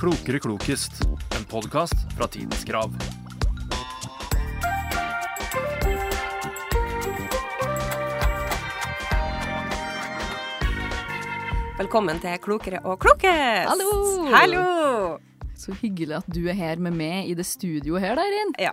Klokere klokest, en podkast fra Tidens Krav. Velkommen til Klokere og klokest! Hallo! Hallo! Så hyggelig at du er her med meg i det studioet her, da, Eirin. Ja.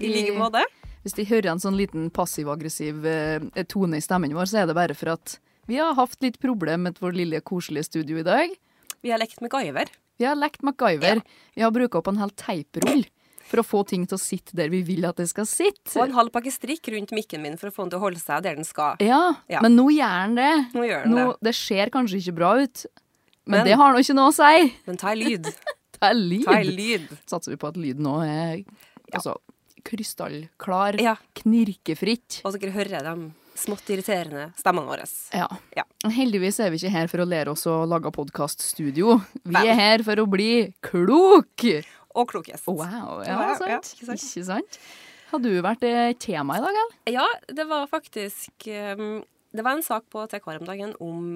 I like måte. Hvis de hører en sånn liten passiv-aggressiv eh, tone i stemmen vår, så er det bare for at vi har hatt litt problem med vår lille koselige studio i dag. Vi har lekt MacGyver. Vi har lekt MacGyver. Vi har bruka opp en hel teiprull for å få ting til å sitte der vi vil at det skal Og sitte. en halv pakke strikk rundt mikken min for å få den til å holde seg der den skal. Ja, Ja. men nå gjør den det. Nå gjør den det. Det ser kanskje ikke bra ut, men, Men- det har nå ikke noe å si. Men ta en lyd. Det er Ta en lyd. lyd. Satser vi på at lyden nå er altså, krystallklar, Ja. knirkefritt. Og dere hører de smått irriterende stemmene våre. Ja. Ja. Heldigvis er vi ikke her for å lære oss å lage podkaststudio. Vi Nei. er her for å bli klok! Og klokest. Wow. Ja, Wow, sant? ja, ikke ikke sant? sant? Har du vært eh, tema i dag, eller? Ja, det var faktisk um, Det var en sak på TK her om dagen om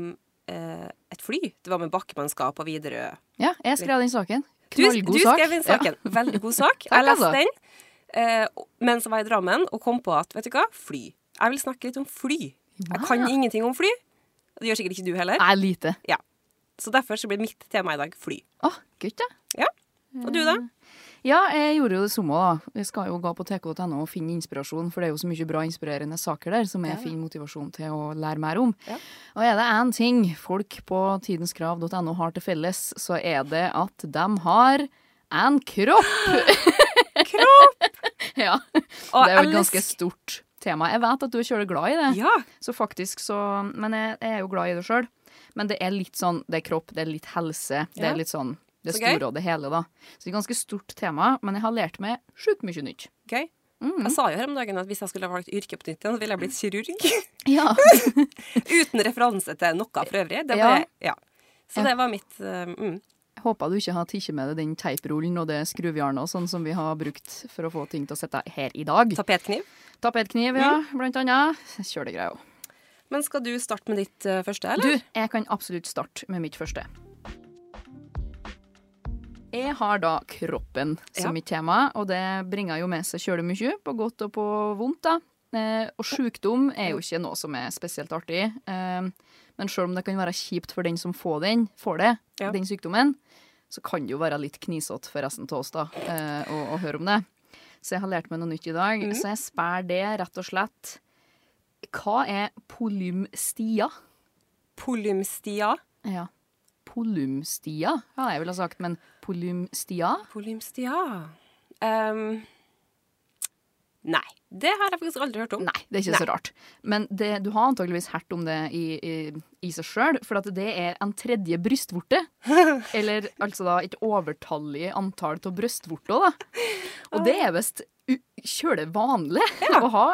eh, et fly. Det var med bakkemannskap og Widerøe. Ja, jeg skrev den saken. Du, Knallgod du sak. skrev inn saken. Veldig god sak. Takk, jeg leste altså. den eh, mens jeg var i Drammen, og kom på at vet du hva, fly. Jeg vil snakke litt om fly. Jeg kan Wow. ingenting om fly. Det gjør sikkert ikke du Ja. heller. Er lite. Så derfor så blir mitt tema i dag fly. Å, gutt, ja. Og du, Mm. da? Ja, jeg gjorde jo det samme, da. Jeg skal jo gå på tk.no og finne inspirasjon, for det er jo så mye bra inspirerende saker der som jeg Ja. finner motivasjon til å lære mer om. Ja. Og er det én ting folk på tidenskrav.no har til felles, så er det at de har en kropp! Kropp! ja. Og det er jo et elsk- ganske stort tema. Jeg vet at du er kjølig glad i det, Ja. så faktisk så Men jeg, jeg er jo glad i det sjøl. Men det er litt sånn Det er kropp, det er litt helse, det Ja. er litt sånn det Så gøy. store og det hele, da. Så det er et ganske stort tema, men jeg har lært meg sjukt mye nytt. Gøy. Mm. Jeg sa jo her om dagen at hvis jeg skulle ha valgt yrke på nytt igjen, så ville jeg blitt kirurg. Ja. Uten referanse til noe for øvrig. Det Ja. var, ja. Så Ja. det var mitt eh, mm. Håper du ikke har tatt med deg den teiprullen og det skruvjernet og sånn som vi har brukt for å få ting til å sitte her i dag. tapetkniv. Tapetkniv, ja, blant annet. Kjølegreier. Men skal du starte med ditt eh, første, Du, eller? jeg kan absolutt starte med mitt første. Jeg har da kroppen som Ja. mitt tema, og det bringer jo med seg kjølig mye, på godt og på vondt, da. Eh, og sjukdom er jo ikke noe som er spesielt artig. Eh, men sjøl om det kan være kjipt for den som får, den, får det, Ja. den sykdommen, så kan det jo være litt knisete for resten av oss da, eh, å, å høre om det. Så jeg har lært meg noe nytt i dag. Mm. Så jeg spør det rett og slett Hva er polymstia? Polymstia. Ja. Polymstia, ja, jeg ville ha sagt, men polymstia? Polymstia Ehm, Nei, det har jeg faktisk aldri hørt om. Nei, det er ikke så rart. Men det, du har antageligvis hørt om det i, i, i seg sjøl, for at det er en tredje brystvorte. Eller altså da et overtallig antall av brystvorter, da. Og det er visst u- kjølig vanlig å ha.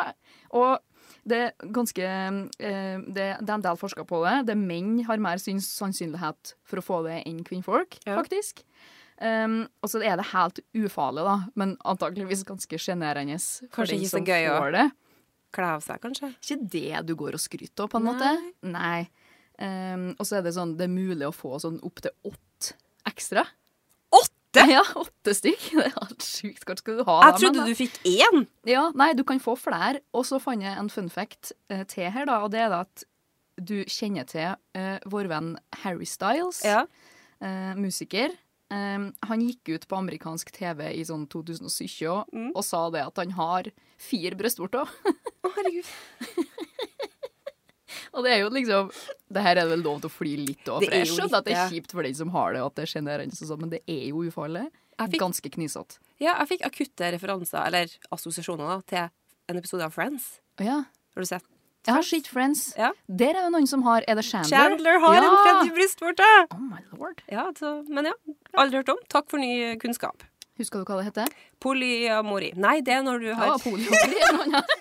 Og det er ganske eh, det, det er en del forsker på det. Det er menn har mer syns sannsynlighet for å få det enn kvinnfolk, Ja. faktisk. Um, og så er det helt ufarlig, da, men antageligvis ganske sjenerende for Kanskje den ikke så som gøy å- får det Kle av seg, kanskje. ikke det du går og skryter av, på en måte. Nei. Ehm, og så er det sånn, det er mulig å få sånn opp til åtte ekstra. Åtte?! Ja, åtte stykk. Det er helt sjukt. Hva skal du ha? Jeg trodde du fikk én! Ja, nei, du kan få flere. Og så fant jeg en fun fact eh, til her, da, og det er da at du kjenner til eh, vår venn Harry Styles Ja. eh, musiker. Ehm, han gikk ut på amerikansk TV i sånn 2017 Mm. og sa det at han har fire brystvorter. Å, herregud. Og det er jo liksom Det her er det vel lov til å fly litt av, Det for jeg er jo skjønner at det er litt, kjipt for den som har det, og at det er sjenerende og sånn, men det er jo ufarlig. Jeg fikk- Ganske knisete. Ja, jeg fikk akutte referanser, eller assosiasjoner, da, til en episode av Friends. Ja. Har du sett? Jeg har sett Friends. Ja. Der er jo noen som har Er det Chandler? Chandler har en tredje brystvorte! Oh my lord. Ja, så, men ja. Aldri hørt om. Takk for ny kunnskap. Husker du hva det heter? Polyamori. Nei, det er når du Ja, har poliomyelitt eller noe annet.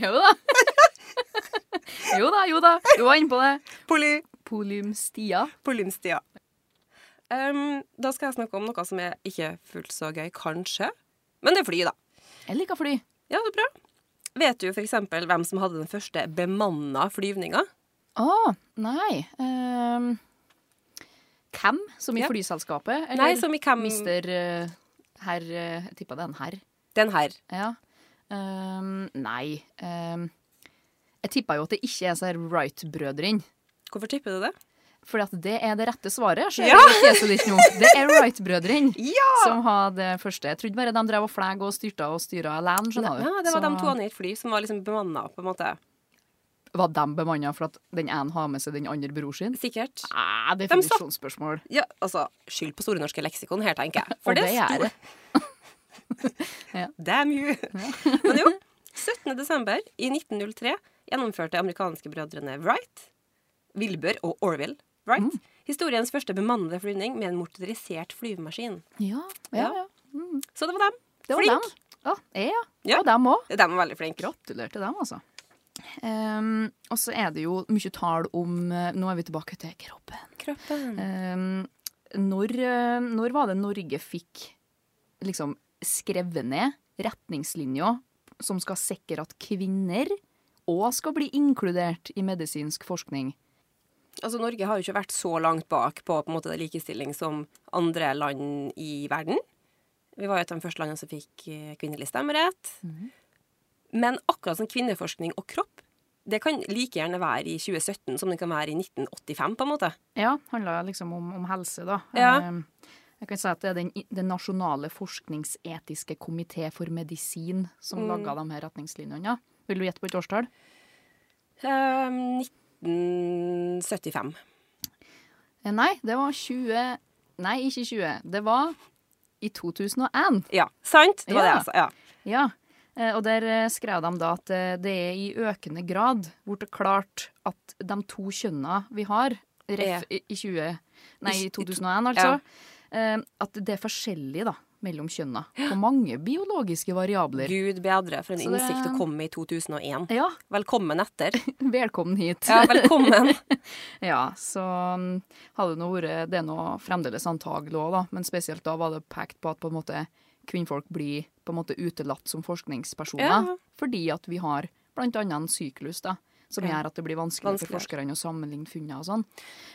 Jo da. Jo da, jo da. Du var inne på det. poly... Polymstia. Polymstia. Um, da skal jeg snakke om noe som er ikke fullt så gøy, kanskje. Men det er fly, da. Jeg liker fly. Ja, så bra. Vet du f.eks. hvem som hadde den første bemanna flyvninga? Å, nei. Ehm, hvem, som i Ja. flyselskapet? Eller Nei, som i hvem mister eh, herr eh, Jeg tippa det er en herr. Den her. Ja. Ehm, nei ehm, Jeg tippa jo at det ikke er så her Wright-brødrene. Hvorfor tipper du det? Fordi at det er det rette svaret. ser Ja. jeg i fjeset ditt nå. Det er Wright-brødrene Ja! som har det første. Jeg trodde bare de drev og flag og styrta og styra alene. skjønner du. ja det var Så de to i et fly som var liksom bemanna, på en måte. Var de bemanna for at den ene har med seg den andre bror sin? Sikkert. Ah, satt- definisjonsspørsmål. Ja, altså, skyld på Store norske leksikon her, tenker jeg. Og For det det sto gjør Ja. Damn you! Men jo, 17. desember i 1903 gjennomførte amerikanske brødrene Wright, Wilbur og Orville Wright Mm. historiens første bemannede flyvning med en motorisert flyvemaskin. Ja, ja, ja. Så det var dem. Det var Flink. dem. Ja, jeg, ja. Ja. Og dem òg. De var veldig flinke. Gratulerer til dem, altså. Ehm, og så er det jo mye tall om eh, Nå er vi tilbake til kroppen. Kroppen. Ehm, når, eh, når var det Norge fikk liksom skrevet ned retningslinjer som skal sikre at kvinner òg skal bli inkludert i medisinsk forskning? Altså, Norge har jo ikke vært så langt bak på, på en måte, det likestilling som andre land i verden. Vi var jo et av de første landene som fikk eh, kvinnelig stemmerett. Mhm. Men akkurat som kvinneforskning og kropp, det kan like gjerne være i 2017 som det kan være i 1985, på en måte. Ja, handla liksom om, om helse, da. Ja. Ehm, Jeg kan si at det er den, den nasjonale forskningsetiske komité for medisin som laga de her retningslinjene. Vil du gjette på et årstall? Eh, 1975. Eh, Nei, det var 20 Nei, ikke 20. Det var i 2001. Ja, sant? Det var Ja. det, altså. Ja. Ja. Eh, Og der eh, skrev de da at eh, det er i økende grad blitt klart at de to kjønna vi har, Ja. ref, i, i 20, nei, I- i 2001 altså, eh, at det er forskjellig da, mellom kjønna på mange biologiske variabler. Gud bedre for en Så det- innsikt å komme i 2001. Ja, Velkommen etter. velkommen hit. Ja, velkommen. Ja, så um, hadde det nå vært Det er nå fremdeles antagelig òg, da, men spesielt da var det pekt på at på en måte kvinnfolk blir på en måte utelatt som forskningspersoner Ja. fordi at vi har blant annet en syklus da, som Ja. gjør at det blir vanskelig Vanskeligere. for forskerne å sammenligne funnene og sånn.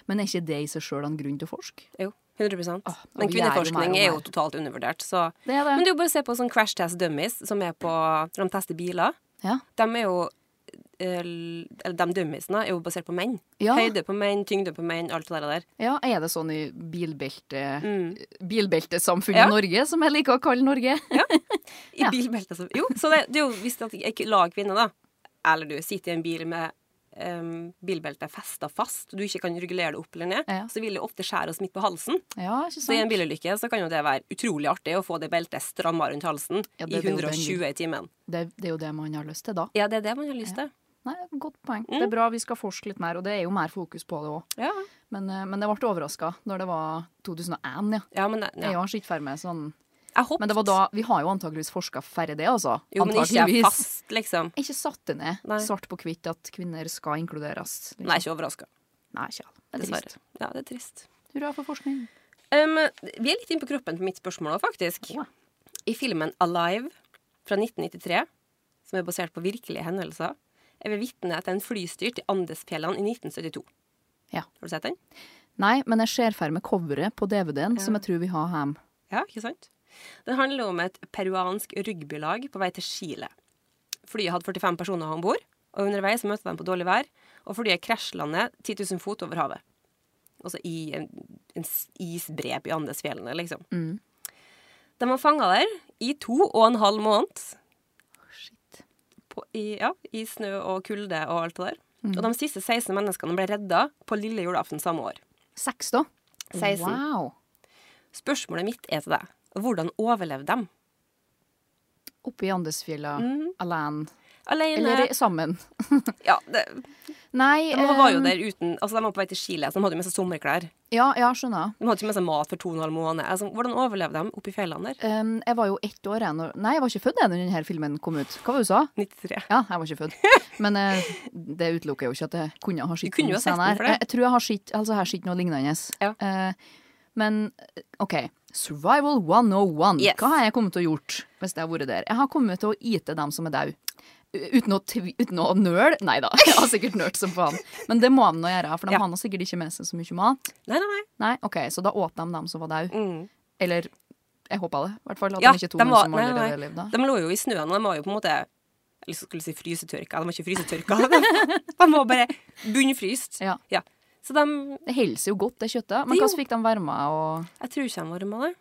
Men er ikke det i seg sjøl en grunn til å forske? Jo, 100 Åh, og Men vi er jo mer og kvinneforskning er jo mer. totalt undervurdert, så Det er det. Men det er jo bare å se på sånn crash test dummies, som er på når de tester biler. Ja. De er jo eh, eller de dummiesene er jo basert på menn. Ja. Høyde på menn, tyngde på menn, alt det der. ja, er det sånn i bilbelte, Mm. bilbeltesamfunnet Ja. Norge, som jeg liker å kalle Norge? I Ja. bilbeltet som Jo, så det, det er jo hvis at jeg lag kvinner, da, eller du sitter i en bil med um, bilbeltet festa fast, og du ikke kan regulere det opp eller ned, Ja. så vil det ofte skjære oss midt på halsen. Ja, ikke sant? Så i en bilulykke så kan jo det være utrolig artig å få det beltet stramma rundt halsen Ja, i det vil jo den 120 i timen. det, det er jo det man har lyst til da. Ja, det er det man har lyst til. Nei, Godt poeng. Det Mm. er bra vi skal forske litt mer, og det er jo mer fokus på det òg. Ja, Men, eh, men jeg ble overraska når det var 2001, ja. ja men Jeg ja. har ikke ferdig med sånn. Jeg hoppet. Men det var da Vi har jo antakeligvis forska færre det, altså. Jo, men ikke er Antageligvis. fast, liksom. Ikke satt det ned Nei. svart på hvitt at kvinner skal inkluderes. liksom. Nei, ikke overraska. Nei, ikke alle. Det er Dessverre. trist. Ja, det er trist. Hurra for forskning. Um, vi er litt inne på kroppen på mitt spørsmål òg, faktisk. Ja. I filmen Alive fra 1993, som er basert på virkelige hendelser, er vi vitne til en flystyrt i Andesfjellene i 1972. Ja. Har du sett den? Nei, men jeg ser ferdig med coveret på DVD-en, som jeg tror vi har hjemme. Ja, ikke sant? Den handler om et peruansk rugbylag på vei til Chile. Flyet hadde 45 personer om bord, og underveis møtte de på dårlig vær, og flyet krasjlandet 10 000 fot over havet. Altså i en, en s- isbrep i Andesfjellene, liksom. Mm. De var fanga der i to og en halv måned Shit. på, i, ja, i snø og kulde og alt det der. Mm. Og de siste 16 menneskene ble redda på lille julaften samme år. Seks, da? 16. Wow. Spørsmålet mitt er til deg. Hvordan overlevde de? Oppe i Andesfjella, Mm. alene. Alene? Eller sammen. Ja, det, Nei de var jo eh, der uten Altså, de var på vei til Chile, så de hadde jo med seg sommerklær. Ja, ja, skjønner. De hadde ikke med seg mat for to og en halv måned. Altså, hvordan overlevde de oppi fjellene der? Um, jeg var jo ett år jeg når Nei, jeg var ikke født jeg når denne filmen kom ut. Hva var det du sa? 93. Ja, jeg var ikke født. Men eh, det utelukker jo ikke at jeg kunne ha sett Du kunne jo ha sett den her. for det. Jeg, jeg tror jeg har sett altså, jeg har sett noe lignende. Ja. Eh, men OK. Survival 101. Yes. Hva har jeg kommet til å gjort hvis jeg har vært der? Jeg har kommet til å ite dem som er døde. Uten å, tvi- uten å nøle. Nei da, jeg har sikkert nølt som faen. Men det må de nå gjøre, for de Ja. har nå sikkert ikke med seg så mye mat. Nei, nei, nei. Nei, ok, Så da åt de dem som var daud. Mm. Eller jeg håpa det. I hvert fall at Ja, de ikke de tok noen var- som nei, nei, allerede levde. De lå jo i snøen, og de var jo på en måte eller så skulle jeg si frysetørka. De var ikke frysetørka. De var bare bunnfryst. Ja. Så de Det holder seg jo godt, det kjøttet. Men Det hvordan gjorde- fikk de varma og Jeg tror ikke de varma det.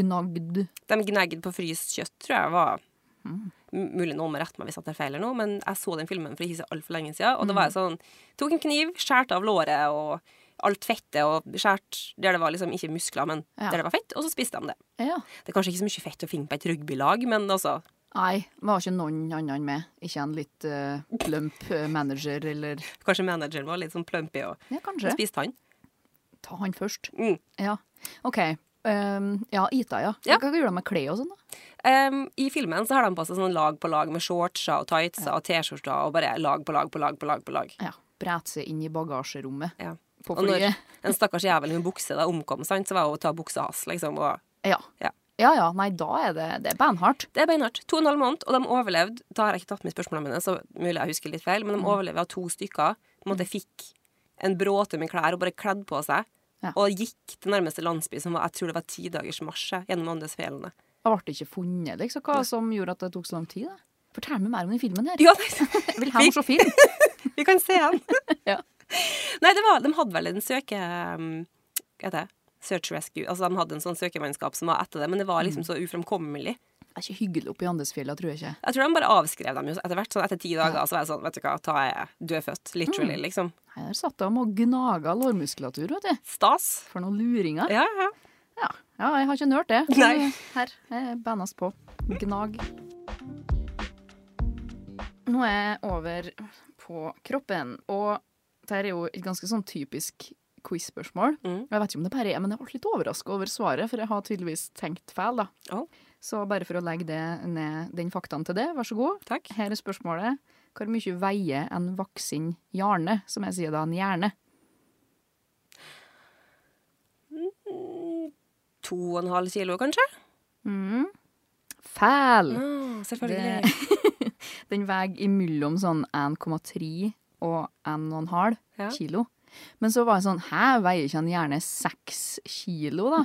gnagd? De gnagde på fryst kjøtt, tror jeg var M- Mulig noen må rette meg hvis jeg tar feil, eller noe, men jeg så den filmen for ikke så altfor lenge siden. Og da var jeg sånn Tok en kniv, skjærte av låret og alt fettet, og skjært der det var liksom ikke muskler, men Ja. der det var fett, og så spiste de det. Ja. Det er kanskje ikke så mye fett å finne på et rugbylag, men altså Nei, var ikke noen annen med. Ikke en litt eh, plump eh, manager, eller Kanskje manageren var litt sånn plumpy, og Ja, kanskje. spiste han. Ta han først. Mm. Ja. OK. Um, ja, Ita, ja. Ja. Hva gjorde de med klær og sånn, da? Em, I filmen så har de på seg sånn lag på lag med shortser og tightser og T-skjorter og bare lag på lag på lag på lag. på lag. Ja. Brette seg inn i bagasjerommet Ja. på Og når flyet. en stakkars jævel med bukse da omkom, sant, så var det å ta buksa hans, liksom. Og Ja. Ja. ja ja, nei, da er det, det er beinhardt. det er beinhardt. To og en halv måned, og de overlevde. Da har jeg ikke tatt med spørsmålene mine, så mulig jeg husker litt feil, men Mm. de overlevde av to stykker. På en måte fikk en bråte med klær og bare kledd på seg. Ja. Og gikk til nærmeste landsby, som var, jeg tror det var ti dagers marsje gjennom Andesfjellene. Det ble ikke funnet, liksom. Hva som gjorde at det tok så lang tid? Da? Fortell meg mer om den filmen her. Ja, nei, Jeg vil hjem og se film. vi kan se den. Ja. Nei, det var, de hadde vel en søke... um, Hva heter det? Search Rescue. Altså, de hadde en sånn søkemannskap som var etter det, men det var Mm. liksom så ufremkommelig. Det er ikke hyggelig oppe i Andesfjella, tror jeg ikke. Jeg tror de bare avskrev dem jo etter hvert. Sånn etter ti dager så var jeg sånn, vet du hva, ta jeg dødfødt. Mm. Literally, liksom. Nei, Der satt de og gnaga lårmuskulatur, vet du. Stas. For noen luringer. Ja, ja. Ja, ja jeg har ikke nørt det. Nei. Her er bannas på. Gnag. Nå er jeg over på kroppen, og dette er jo et ganske sånn typisk quiz-spørsmål. Mm. Jeg vet ikke om det bare er, men jeg ble litt overraska over svaret, for jeg har tydeligvis tenkt feil, da. Å. Så bare for å legge det ned, den faktaen til det, vær så god. Takk. Her er spørsmålet. Hvor mye veier en voksen hjerne, som jeg sier da, en hjerne? To og en halv kilo, kanskje? Mm. Fæl! Ja, selvfølgelig. Mm. Den veier imellom sånn 1,3 og 1,5 Ja. kilo. Men så var jeg sånn Hæ, veier ikke han gjerne 6 kilo, da?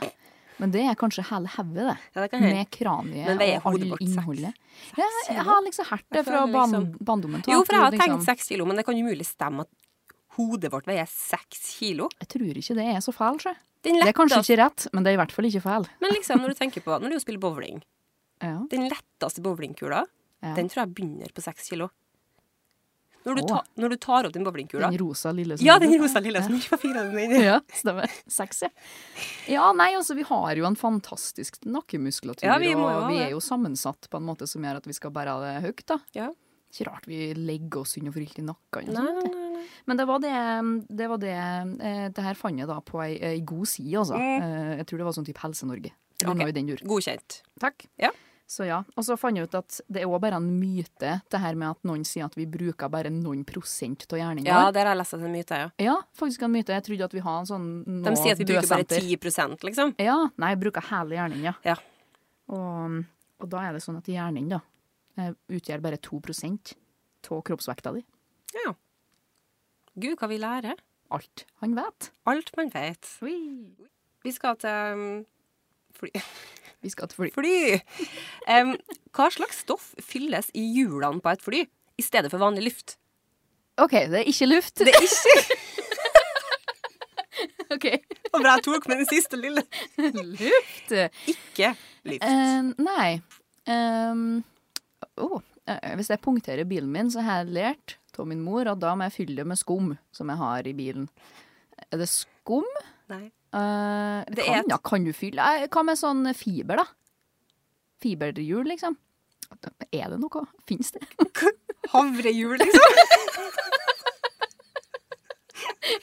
Men det er kanskje hele hodet, det. Ja, det kan hende. Med kraniet Men veier og hodet all vårt seks- innholdet. Ja, jeg kilo? har liksom hørt det Jeg fra føler barn- liksom- barndommen. Jo, for jeg har at liksom, tenkt seks kilo, men det kan jo mulig stemme at hodet vårt veier seks kilo. Jeg tror ikke det er så feil, sjø. Den Det er kanskje letteste, ikke rett, men det er i hvert fall ikke feil. men liksom når du tenker på når du spiller bowling, Ja. den letteste bowlingkula, Ja. den tror jeg begynner på seks kilo. Når du, Å. ta, når du tar opp den bowlingkula Den rosa lille Ja, snubben. den rosa lilla som ikke var fingrene dine Ja, stemmer. Seks, ja. Ja, nei, altså, vi har jo en fantastisk nakkemuskulatur, Ja, vi må jo og ha vi det. er jo sammensatt på en måte som gjør at vi skal bære det høyt, da. Ja. Ikke rart vi legger oss under frykt i nakken. Nei, og sånt. nei, nei. Men det var det, det var det eh, Det her fant jeg da på ei, ei god side, altså. Mm. Eh, Jeg tror det var sånn type Helse-Norge. Eller Ok. noe i den dur. Godkjent. Takk. Ja. Så ja. Og så fant jeg ut at det er òg bare en myte, det her med at noen sier at vi bruker bare noen prosent av hjernen Ja, vår. der har jeg lest en myte, ja. Ja, faktisk en myte. Jeg trodde at vi har en sånn nå De sier at vi bruker bare 10 dødsenter. liksom. Ja, nei, jeg bruker hele hjernen, ja. Ja. Og, og da er det sånn at hjernen da, eh, utgjør bare 2 av kroppsvekta di. ja. Gud, hva vi lærer. Alt han vet. Alt man vet. Vi skal til um, fly. Vi skal til fly. fly. Em, hva slags stoff fylles i hjulene på et fly i stedet for vanlig luft? OK, det er ikke luft. Det er ikke OK. Og bra jeg tok med den siste lille. luft? Ikke luft. Eh, nei. Ehm, å, eh, hvis jeg punkterer bilen min, så har jeg lært av min mor at da må jeg fylle det med skum som jeg har i bilen. Er det skum? Nei. Eh, Det er kan, et- ja, kan du fylle eh, Hva med sånn fiber, da? Fiberhjul, liksom? Er det noe? Fins det? Havrehjul, liksom.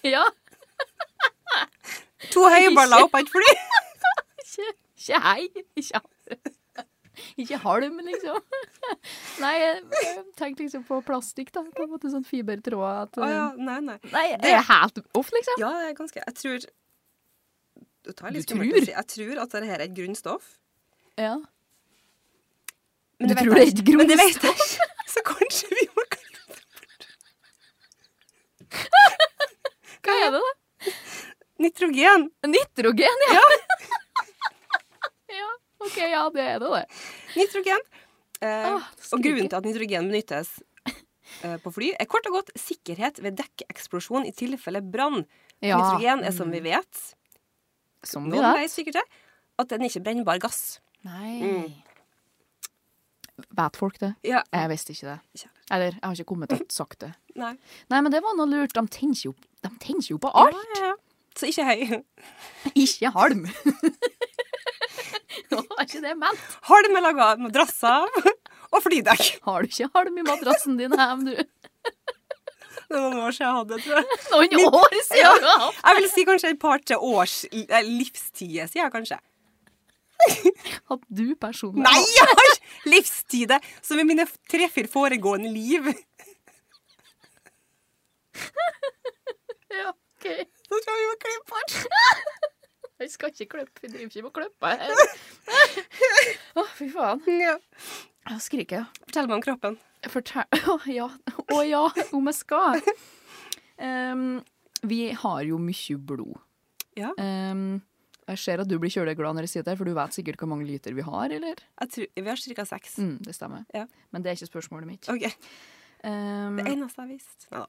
ja, To høyballer opp på et fly. ikke, ikke hei. Ikke, ikke halm, liksom. Nei, jeg tenkte liksom på plastikk, da. På en måte sånn fibertråd. At, Å ja, nei, nei. Nei, det er helt off, liksom. Ja, jeg er ganske Jeg tror Det tar litt Du skummelt å tror? si. Jeg tror at dette her er et grunnstoff. Ja. Men Du vet tror jeg det er et ikke. Men det vet jeg ikke. Så Kanskje vi må Hva er det, da? Nitrogen. Nitrogen, ja! ja, OK, ja, det er det, det. Nitrogen. Eh, Åh, det og skriker. grunnen til at nitrogen benyttes eh, på fly, er kort og godt sikkerhet ved dekkeksplosjon i tilfelle brann. Ja, Mm. Nitrogen er, som vi vet, som vi noen da. vet sikkert det, at den ikke er brennbar gass. Nei. Mm. Vet folk det? Ja, Jeg visste ikke det. Kjære. Eller jeg har ikke kommet til å sagt det. nei. Nei, men det var noe lurt. De tenker jo, de tenker jo på alt. Ja, ja, ja. Så ikke høy. Ikke halm. Nå er ikke det ment. Halm er laga av madrasser av, og flydekk. Har du ikke halm i madrassen din hjem, du? Det var noen år siden jeg hadde det, tror jeg. Noen år siden du har hatt. Jeg vil si kanskje et par-tre års eh, livstid, sier jeg kanskje. Hatt du personlig? Nei, jeg har ikke livstid! Som i mine tre-fire foregående liv. Ja, ok. Så tror jeg vi må klippe bort. Jeg skal ikke klippe. Vi driver ikke med å klippe her. Å, fy faen. Ja. Jeg skriker, ja. Fortell meg om kroppen. Fortell Å ja, å ja, om jeg skal. Ehm, vi har jo mye blod. Ja. Ehm, jeg ser at du blir kjøleglad når jeg sier det, her, for du vet sikkert hvor mange liter vi har, eller? Jeg tror, vi har cirka seks. Mm, det stemmer. Ja. Men det er ikke spørsmålet mitt. Ok, Ehm, Det eneste jeg visste. Neida.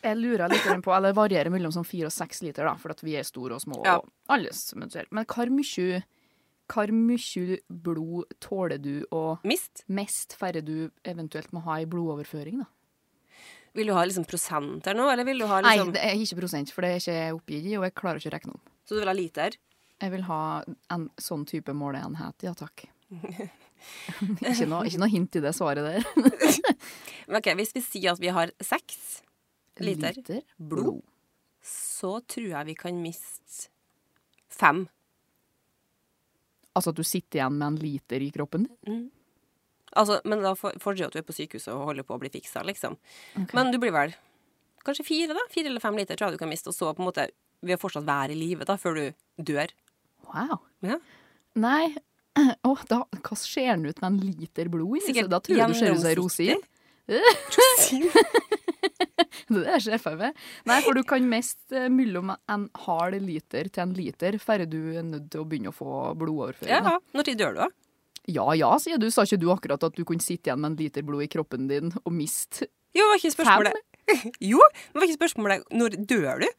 jeg lurer litt grann på, eller varierer mellom sånn fire og seks liter, da, for at vi er store og små. Ja. og alles eventuelt. Men hvor mye, hvor mye blod tåler du, og Mist. mest færre du eventuelt må ha i blodoverføring? da? Vil du ha liksom prosenter nå, eller vil du ha Nei, liksom det er ikke prosent, for det er ikke oppgitt, og jeg klarer ikke å regne om. Så du vil ha liter? Jeg vil ha en sånn type måleenhet, ja takk. ikke, noe, ikke noe hint i det svaret der. Men ok, Hvis vi sier at vi har seks, Liter. blod. så tror jeg vi kan miste fem. Altså at du sitter igjen med en liter i kroppen din? Altså, men da for- fordrer jo at du er på sykehuset og holder på å bli fiksa, liksom. Ok. Men du blir vel kanskje fire, da? Fire eller fem liter tror jeg du kan miste. Og så på en måte vil fortsatt være i live da, før du dør. Mm, Wow. Ja. Nei, Åh, da, hva ser den ut med en liter blod inni? Sikkert Så Da tror jeg du ser ut som ei rosin. Det der sjefet med. Nei, for du kan mest eh, mellom en halv liter til en liter færre du er nødt til å begynne å få blodoverføring. da. Ja, Når tid dør du, da? Ja ja, sier du. Sa ikke du akkurat at du kunne sitte igjen med en liter blod i kroppen din og miste Jo, var ikke spørsmålet Jo, men var ikke spørsmålet når dør du?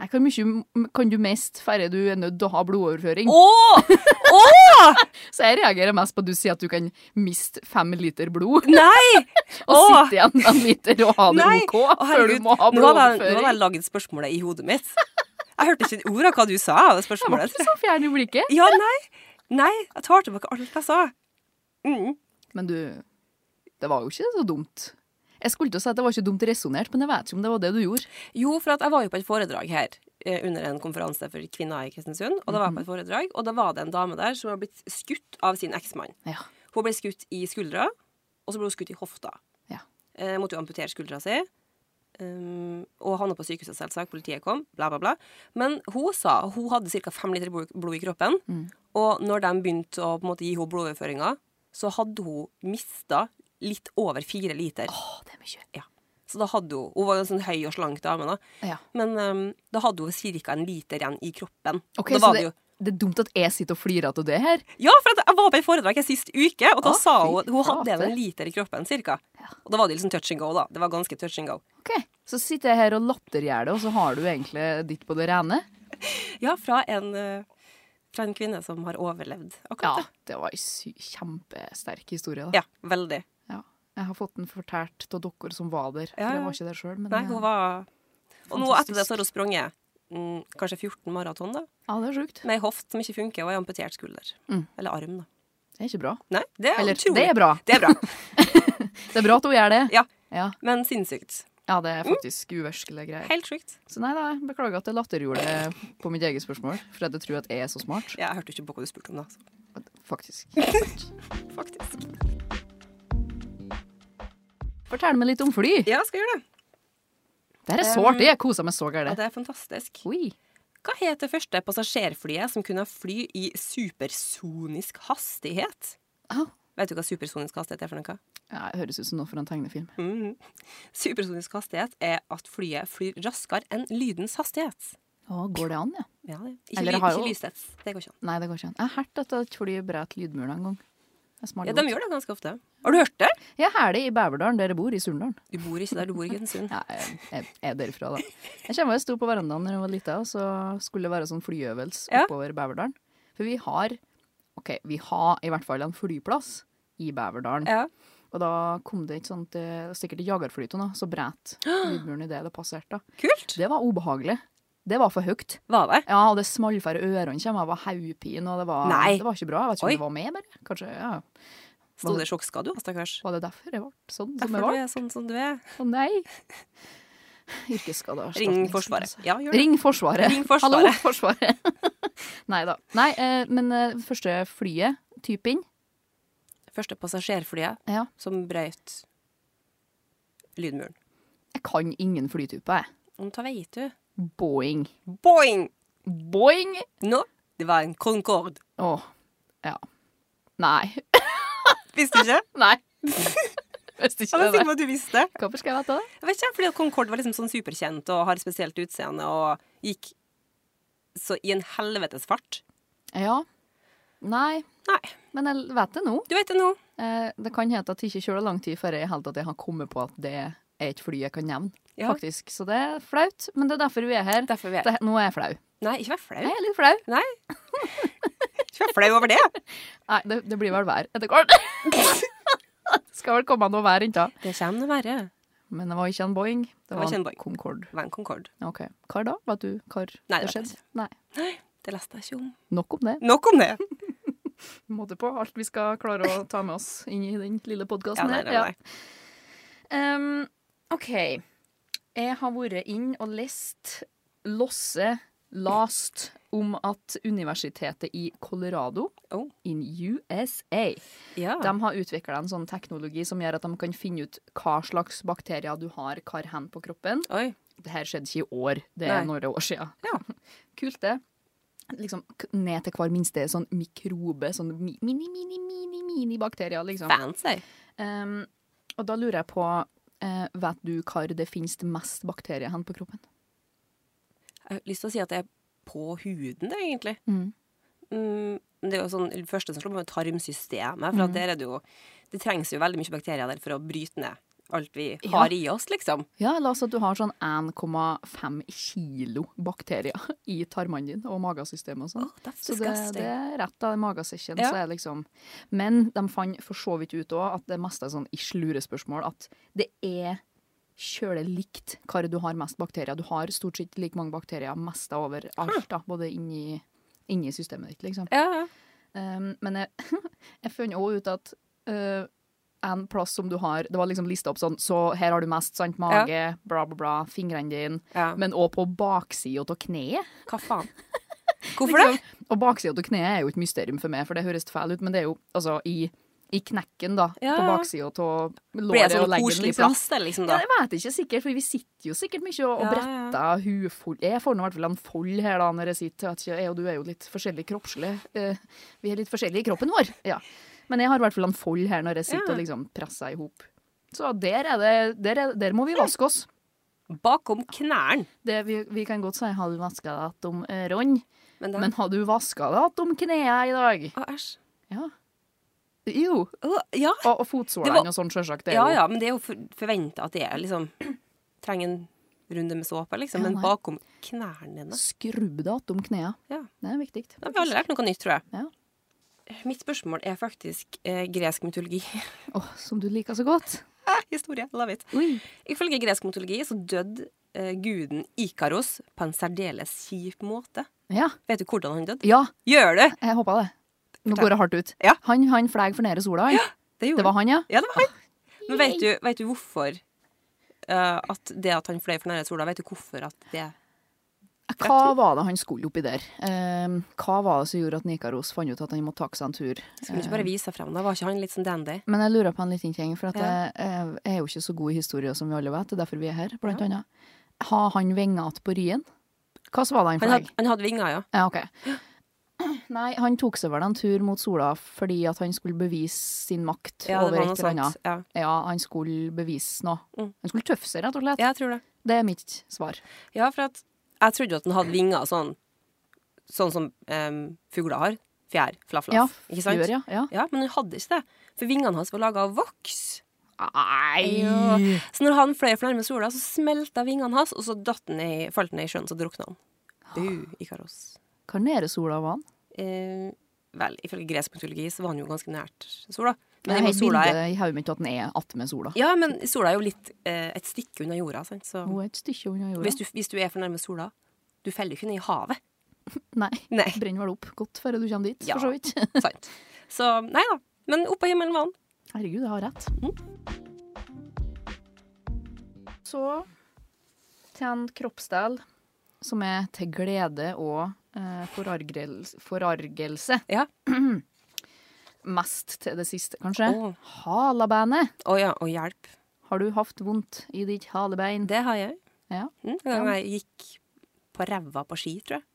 Nei, hvor mye kan du mest færre du er nødt til å ha blodoverføring? Å! Å! Så jeg reagerer mest på at du sier at du kan miste fem liter blod, Nei! og Åh! sitte igjen med en liter og ha det Nei! OK Å, før du herregud. må Nå ha hadde jeg, nå blodoverføring. hadde jeg lagd spørsmålet i hodet mitt. Jeg hørte ikke et ord av hva du sa. av Det Jeg ble spørsmålet. ikke så fjern i blikket. Ja, nei. Nei, jeg tar tilbake alt jeg sa. Mm. Men du, det var jo ikke så dumt. Jeg skulle til å si at det var ikke dumt resonnert, men jeg vet ikke om det var det du gjorde. Jo, for at jeg var jo på et foredrag her eh, under en konferanse for kvinner i Kristiansund. Og da Mhm. var jeg på et foredrag, og da var det en dame der som var blitt skutt av sin eksmann. Ja. Hun ble skutt i skuldra, og så ble hun skutt i hofta. Ja. Eh, måtte jo amputere skuldra si. Um, og havna på sykehuset, selvsagt. Politiet kom, bla, bla, bla. Men hun sa hun hadde ca. fem liter blod, blod i kroppen. Mm. Og når de begynte å på en måte, gi henne blodoverføringer, så hadde hun mista litt over fire liter. Å, det er mye. Ja. Så da hadde hun Hun var jo en sånn høy og slank dame, da. Ja. Men um, da hadde hun ca. en liter igjen i kroppen. Ok, Da så var det det, det er dumt at jeg sitter og flirer av det her. ja, for at jeg var på et foredrag her sist uke, og da Å, sa hun fy at hun hadde flate. en liter i kroppen, cirka. Ja. Og da var det liksom touch and go, da. Det var ganske touch and go. Ok, Så sitter jeg her og lattergjør det, og så har du egentlig ditt på det rene. Ja, fra en, eh, fra en kvinne som har overlevd akkurat det. Det var en sy- kjempesterk historie, Ja, da. veldig. Ja. Jeg har fått den fortalt av dere som var Ja, der. For jeg ja. var ikke der sjøl, men Nei, hun var Og nå Fantastisk. etter det så har hun sprunget mm, kanskje 14 maraton, da. Ja, det er sjukt. Med ei hoft som ikke funker, og ei amputert skulder. Mm. Eller arm, da. Det er ikke bra. Nei, det er Eller, utrolig. det er bra. Det er bra. Det er bra at hun gjør det. Ja. Ja, Men sinnssykt. Ja, det er faktisk uverskelige greier. Helt sjukt. Så nei da, jeg beklager at jeg lattergjorde på mitt eget spørsmål, for jeg tror at jeg er så smart. Ja, Jeg hørte ikke på hva du spurte om, da. Så. Faktisk. Faktisk. Fortell meg litt om fly. Ja, jeg skal gjøre det. Det her er Um, sårt. Jeg koser meg så Ja, gærent. det er fantastisk. Oi. Hva het det første passasjerflyet som kunne fly i supersonisk hastighet? Au. Vet du hva supersonisk hastighet er for noe? Ja, det høres ut som noe for en tegnefilm. Mhm. Supersonisk hastighet er at flyet flyr raskere enn lydens hastighet. Å, går det an, ja? Ja, det. Ikke, Eller lyd, har ikke jo- lysets. Det går ikke an. Nei, det går ikke an. Jeg har hørt at et fly brøt lydmuren en gang. Jeg smalt Ja, de godt. gjør det ganske ofte. Har du hørt det? Jeg har det i Bæverdalen, der jeg bor, i Surndalen. Du bor ikke der, du bor i Kristiansund. Ja, jeg, jeg er derfra, da. Jeg kommer jeg sto på verandaen da jeg var lita, og så skulle det være sånn flyøvelse Ja. oppover Bæverdalen. For vi har OK, vi har i hvert fall en flyplass i Bæverdalen. Ja. Og da kom det et sånt eh, Sikkert et jagerfly til noe, så brett lydmuren idet det passerte. da. Kult! Det var ubehagelig. Det var for høyt. Var det? Ja, og det smalfær i ørene kommer, jeg var haugpin, og det var, Nei. det var ikke bra. Jeg vet ikke Oi. om det var med, bare. Kanskje, ja. Sto det sjokkskade, jo, stakkars? Var det derfor jeg ble sånn som jeg Derfor ble? du er sånn som du er. Å nei! Yrkesskader. Ring Forsvaret. Ja, gjør det. Ring Forsvaret. Ring Forsvaret. Hallo, Forsvaret. nei da. Nei, eh, men eh, første flyet, typen Første passasjerflyet ja. som brøt lydmuren. Jeg kan ingen flytype, jeg. Om ta veit du. Boeing. Boing! Boeing! Nå, det var en Concorde. Å, ja. Nei. Visste du ikke? Nei. Visste Ja, ikke men si det. meg at du visste. Hvorfor skal jeg vite det? Jeg vet ikke, fordi at Concorde var liksom sånn superkjent og har spesielt utseende og gikk så i en helvetes fart. Ja. Nei, Nei, men jeg vet det nå. du vet det nå. Eh, det kan hete at det ikke kjører lang tid før jeg i hele tatt har kommet på at det er et fly jeg kan nevne. Ja. faktisk. Så det er flaut, men det er derfor vi er her. Derfor vi er Det, nå er jeg flau. Nei, ikke vær flau. Jeg er litt flau. Nei. Ikke vær flau over det. Nei, det, det blir vel vær etter hvert. Skal vel komme noe vær innta. Det kommer noe verre. Men det var ikke en Boeing. Det var var, ikke en en Boeing. Concorde. Det var en Concorde. Ok. Hva da? Vet du hva Nei, det det vet jeg skjedde? Nei. Det leste jeg ikke om. Nok om det. Nok om det. Måte på alt vi skal klare å ta med oss inn i den lille Ja, podkasten nei, nei, nei. OK. Jeg har vært inn og lest Losse Last om at universitetet i Colorado Oh. Ah. in USA Ja. De har utvikla en sånn teknologi som gjør at de kan finne ut hva slags bakterier du har hva hen på kroppen. Oi. Det her skjedde ikke i år, det er Nei. noen år siden. Ja. Kult, det. Liksom k- ned til hver minste sånn mikrobe, sånn mi- mini, mini, mini, mini bakterier, liksom. Fancy. Ehm, og da lurer jeg på, eh, vet du hva det finnes det mest bakterier hen på kroppen? Jeg har lyst til å si at det er på huden, det, egentlig. Mm, men det er jo sånn, det første som slår meg, er tarmsystemet. Mm. For at der er det jo Det trengs jo veldig mye bakterier der for å bryte ned alt vi Ja. har i oss, liksom. Ja, la oss at du har sånn 1,5 kilo bakterier i tarmene dine og magesystemet og sånn. Åh, that's Så det, disgusting. det er rett av magesekken. Ja. Så er det liksom. Men de fant for så vidt ut òg at det meste er sånn ish lurespørsmål. At det er kjølig likt hvor du har mest bakterier. Du har stort sett like mange bakterier mest over alt, da, både inni, inni systemet ditt, liksom. Ja, ja. Um, men jeg, jeg fant òg ut at uh, en plass som du har Det var liksom lista opp sånn, så her har du mest, sant, mage, bla, bla, bla, fingrene dine. Ja. Men òg på baksida av kneet. Hva faen? Hvorfor det? Og baksida av kneet er jo et mysterium for meg, for det høres feil ut, men det er jo altså i, i knekken, da. Ja. På baksida av Blir det låret og sånn leggen. koselig Liksom. plass, det, liksom, Ja, da? jeg vet ikke sikkert, for vi sitter jo sikkert mye og, og Ja, ja. bretter hufold. Jeg får nå i hvert fall en fold her da når jeg sitter. Jeg vet ikke, jeg og du er jo litt forskjellig kroppslig. Eh, vi er litt forskjellige i kroppen vår. Ja. Men jeg har i hvert fall en fold her når jeg sitter Ja. og liksom presser i hop. Så der, er det, der, er, der må vi vaske oss. Bakom knærne. Det, vi, vi kan godt si 'har du vaska deg att om ørene', Men da men 'har du vaska deg att om knærne i dag'? Å, æsj. Ja. Jo. Å, Ja. Og, og Det fotsålene var- og sånn, sjølsagt. ja ja, men det er jo forventa at det er liksom Trenger en runde med såpe, liksom. Ja, Men nei. bakom knærne dine Skrubb deg att om knærne. Ja. Det er viktig. Da har vi alle lært noe nytt, tror jeg. Ja. Mitt spørsmål er faktisk eh, gresk mytologi. Åh, som du liker så godt. Historie. Love it. Oi. Ifølge gresk mytologi så døde eh, guden Ikaros på en særdeles kjip måte. Ja. Vet du hvordan han døde? ja, Gjør det! jeg håpa det. Nå Fortell. går det hardt ut. Ja. Han, han fløy for nede sola, han. Det Det gjorde var han, Ah. ja? han. Ja, det var han. Men vet du, vet du hvorfor eh, at det at han fløy for nære sola, vet du hvorfor at det Hva var det han skulle oppi der? Ehm, hva var det som gjorde at Nikaros fant ut at han måtte ta seg en tur? Skulle Eh. ikke bare vise seg frem da? Var ikke han litt sånn dandy? Men jeg lurer på en liten ting, for at Ja. jeg, jeg er jo ikke så god i historie som vi alle vet. Det er derfor vi er her, blant annet. Har han vinger att på ryen? Hva så var det han Han, fløy? had, han hadde vinger, ja. Ja, ok. Nei, han tok seg vel en tur mot sola fordi at han skulle bevise sin makt Ja, det over var et noe eller sånt. annet. Ja. Ja, han skulle bevise noe. Mm. Han skulle tøffe seg, rett og slett. ja, jeg tror det. Det er mitt svar. Ja, for at jeg trodde jo at den hadde vinger sånn, sånn som em, fugler har. Fjær, flaflas. Ja, ikke sant? Gjør, ja. ja. Ja, men hun hadde ikke det. For vingene hans var laga av voks. Nei! Jo. Så når han fløy for nærme sola, så smelta vingene hans, og så datt han i, falt han ned i sjøen, så drukna han. Ah. Bu, Ikaros. Hva nede sola var han? Eh, vel, ifølge gresk mytologi så var han jo ganske nært sola. Men Men jeg har i et sola er, bilde i hodet mitt at den er attmed sola. ja, men sola er jo litt eh, et stykke unna jorda, sant? så Hun er et stykke unna jorda. hvis du, hvis du er for nærme sola Du feller jo ikke ned i havet. Nei. Nei, Brenner vel opp godt før du kommer dit, Ja. for så vidt. sant. Så nei da. Men oppå himmelen var han. Herregud, jeg har rett. Mm. Så til en kroppsdel som er til glede og eh, forargels- forargelse. Ja. Mest til det siste, kanskje. Åh. Halabandet. Å ja, og hjelp. Har du hatt vondt i ditt halebein? Det har jeg. Ja. Mm, en gang jeg gikk på ræva på ski, tror jeg.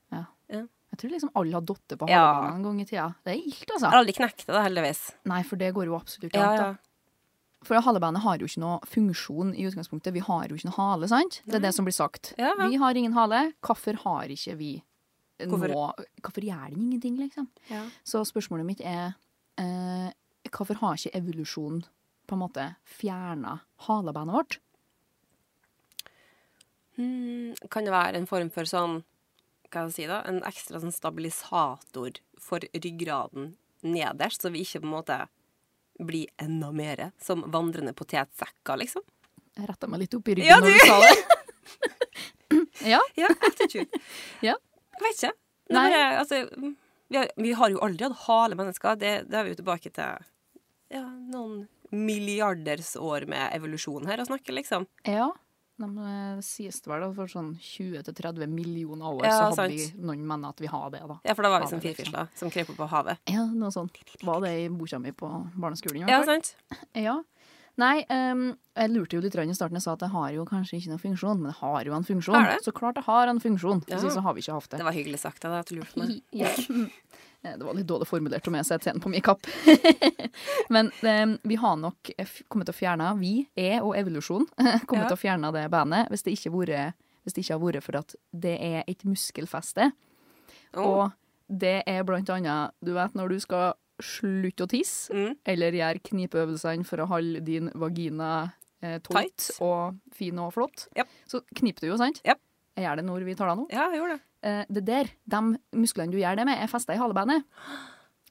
Jeg tror liksom alle har datt på Ja. halebanen en gang i tida. Det er ilt, Jeg altså. har aldri knekt det, da, heldigvis. Nei, for det går jo absolutt ikke Ja, an. ja. da. For halebandet har jo ikke noe funksjon i utgangspunktet. Vi har jo ikke noe hale, sant? Det er det som blir sagt. Ja, ja. Vi har ingen hale. Hvorfor har ikke vi Hvorfor- nå Hvorfor gjør den ingenting, liksom? Ja. Så spørsmålet mitt er eh, Hvorfor har ikke evolusjonen på en måte fjerna halebandet vårt? Hmm, kan det være en form for sånn Hva skal jeg si, da? En ekstra sånn stabilisator for ryggraden nederst, så vi ikke på en måte blir enda mer som vandrende potetsekker, liksom? Jeg retta meg litt opp i ryggen Ja, når du sa det. ja. Ja, attitude. Ja. Jeg vet ikke. Det Nei. er bare, altså, vi, har, vi har jo aldri hatt hale mennesker. Det, det er vi jo tilbake til ja, noen milliarders år med evolusjon her å snakke, liksom. ja. De eh, sies det vel da, for sånn 20-30 millioner år så Ja, hadde sant. vi noen mener at vi har det, da. Ja, for da var vi som Havet, liksom. firfisler som krøp opp på havet. Ja, noe sånt. Var det i boka mi på barneskolen? i hvert Ja, fall. sant? Ja. Nei, ehm, jeg lurte jo litt grann i starten. Jeg sa at jeg har jo kanskje ikke noen funksjon, men jeg har jo en funksjon. Har det? Så klart jeg har en funksjon. Ja. Hvis ikke så har vi ikke hatt det. Det var hyggelig sagt av deg at du lurte meg. Ja. Eh, Det var litt dårlig formulert om jeg setter scenen på min kapp. Men ehm, vi har nok f- kommet til å fjerne, vi, jeg og evolusjon, kommet Ja. til å fjerne det bandet hvis det ikke, vore, hvis det ikke har vært for at det er et muskelfeste. Åh, Og det er blant annet, du vet når du skal slutte å tisse, Mm. eller gjøre knipeøvelsene for å holde din vagina eh, tight Tight. og fin og flott, Japp. så kniper du jo, sant? Japp. Jeg gjør det når vi taler nå. Ja, jeg gjorde det. Eh, det der, de musklene du gjør det med, er festet i halebenet.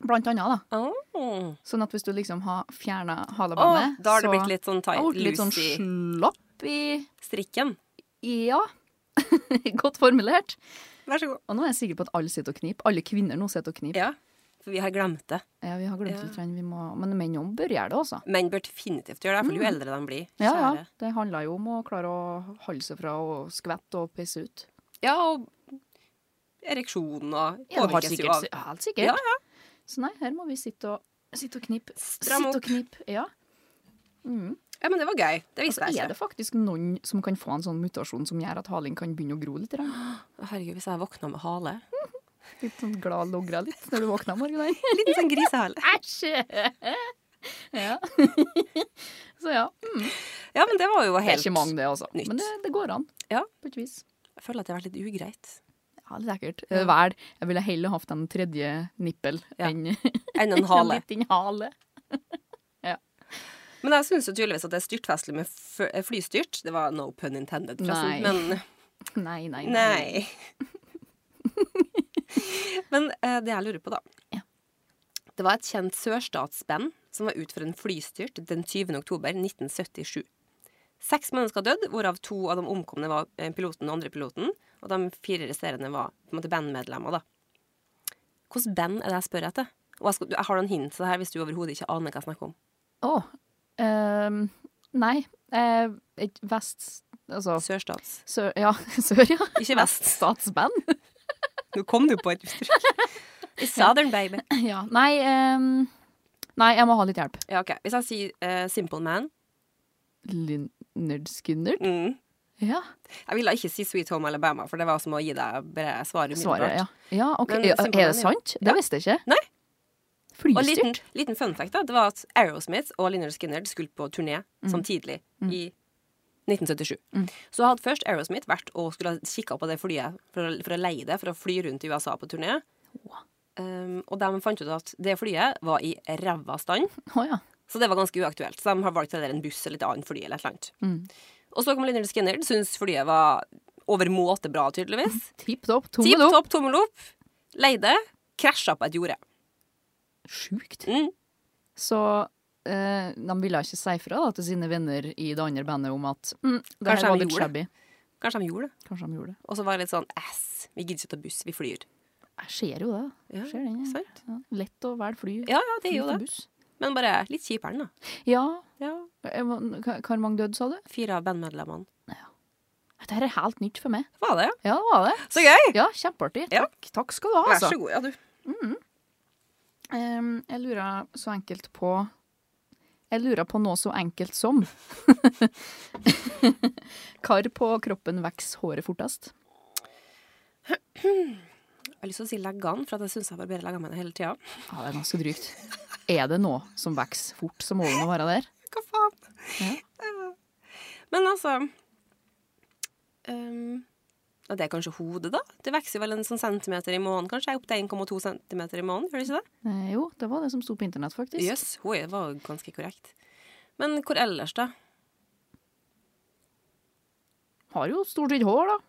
Blant annet da. Åh. Sånn at hvis du liksom har fjernet Åh, halebenet, da har det så blitt litt sånn har tight, det blitt litt sånn loose i slapp i... strikken. Ja, godt formulert. Vær så god. Og nå er jeg sikker på at alle sitter og kniper. Alle kvinner nå sitter og kniper. Ja, for vi har glemt det. Ja, vi har glemt Ja. litt, grann, vi må, men menn òg bør gjøre det, altså. Menn bør definitivt gjøre det, for jo eldre de blir. Mm. Ja, ja. kjære. Det handler jo om å klare å holde seg fra å skvette og pisse ut. ja, og ereksjonen og Ja, det har påvirkes jo av. sikkert, helt sikkert. Ja, Så nei, her må vi sitte og, sitte og knippe. Stram Sitte opp. og knippe, ja. Mm. Ja, men det var gøy. Det Og så visste jeg er ikke. det faktisk noen som kan få en sånn mutasjon som gjør at halen kan begynne å gro litt. grann. Å, Herregud, hvis jeg våkna med hale. Litt sånn glad logra litt når du våkner om morgenen. En liten sånn grisehale. Æsj! Ja. Så ja. Ja, men det var jo Det er helt ikke mange, det, altså. nytt. Men det, det går an. Ja. På et vis. Jeg føler at det har vært litt ugreit. Ja, det er sikkert. Eh, Vel, jeg ville heller hatt en tredje nippel Ja. enn Enn en hale. en liten hale. Men jeg syns jo tydeligvis at det er styrtfestlig med fø- flystyrt. Det var no pun intended, forresten. Nei. Men Nei, nei, nei. Nei. Men eh, det jeg lurer på, da Ja. Det var et kjent sørstatsband som var ut for en flystyrt den 20. oktober 1977. Seks mennesker døde, hvorav to av de omkomne var eh, piloten og andre piloten. Og de fire resterende var på en måte bandmedlemmer, da. Hvilket band er det jeg spør etter? Og jeg, skal, jeg har noen hint til det her hvis du overhodet ikke aner hva jeg snakker om. Å. ehm, nei. eh, Et vest... Altså Sørstats. sør... Ja, sør, ja. Ikke vest. Statsband. Nå kom du på et uttrykk. Southern baby. Ja. Nei, ehm, nei, jeg må ha litt hjelp. Ja, ok. Hvis jeg sier eh, Simple Man Lynyrd Skynyrd? mm. Ja, Jeg ville ikke si Sweet Home Alabama, for det var som å gi deg bare svaret umiddelbart. svaret, ja. ja ok. Men Er symbolene, er ja. det sant? Ja. Det visste jeg ikke. Nei. Og en liten, Flystyrt? liten fun fact da, det var at Aerosmith og Lynyrd Skynyrd skulle på turné samtidig i 1977. Så hadde først Aerosmith vært og skulle ha kikka på det flyet for å, for å leie det for å fly rundt i USA på turné. Um, og de fant ut at det flyet var i ræva stand, Å ja. så det var ganske uaktuelt. Så de har valgt heller en buss eller et annet fly eller et eller annet. Og så kom Lynyrd Skynyrd, syntes flyet var overmåte bra, tydeligvis. Tipp topp, Tipp tommel opp. topp, tommel opp. Leide. Krasja på et jorde. Sjukt. Mm. Så eh, de ville ikke si fra da, til sine venner i det andre bandet om at mm, det Kanskje her de var litt gjorde shabby. Kanskje de gjorde det. Kanskje de gjorde det. Og så var det litt sånn ass, vi gidder ikke ta buss, vi flyr. Jeg ser jo det. Ja, Jeg ser den, jeg. sant? Ja. Lett å velge fly. Ja, ja, det er fly jo til det. buss. Men bare litt kjipere, den, da. Ja. Ja. Eh, hva- hva- Hvor mange døde, sa du? Fire av bandmedlemmene. Dette her er helt nytt for meg. Var det, ja? Ja, det var det. Så gøy! Ja, kjempeartig. Ja. Takk, takk skal du ha, Vær altså. så god, ja, du. Ehm, jeg lurer så enkelt på Jeg lurer på noe så enkelt som Kar på kroppen vokser håret fortest. Jeg har lyst til å si leggene, for at jeg syns jeg barberer leggene mine hele tida. Ja, det er ganske drygt. Er det noe som vokser fort, så må det nå være der. Hva faen? Ja. Men altså ehm, ja, Det er kanskje hodet, da. Det vokser vel en sånn centimeter i måneden, kanskje. Opp til 1,2 centimeter i måneden, gjør det ikke det? Eh, jo, det var det som sto på internett, faktisk. Jøss, yes, hun er- var jo ganske korrekt. Men hvor ellers, da? Har jo stort sett hår, da.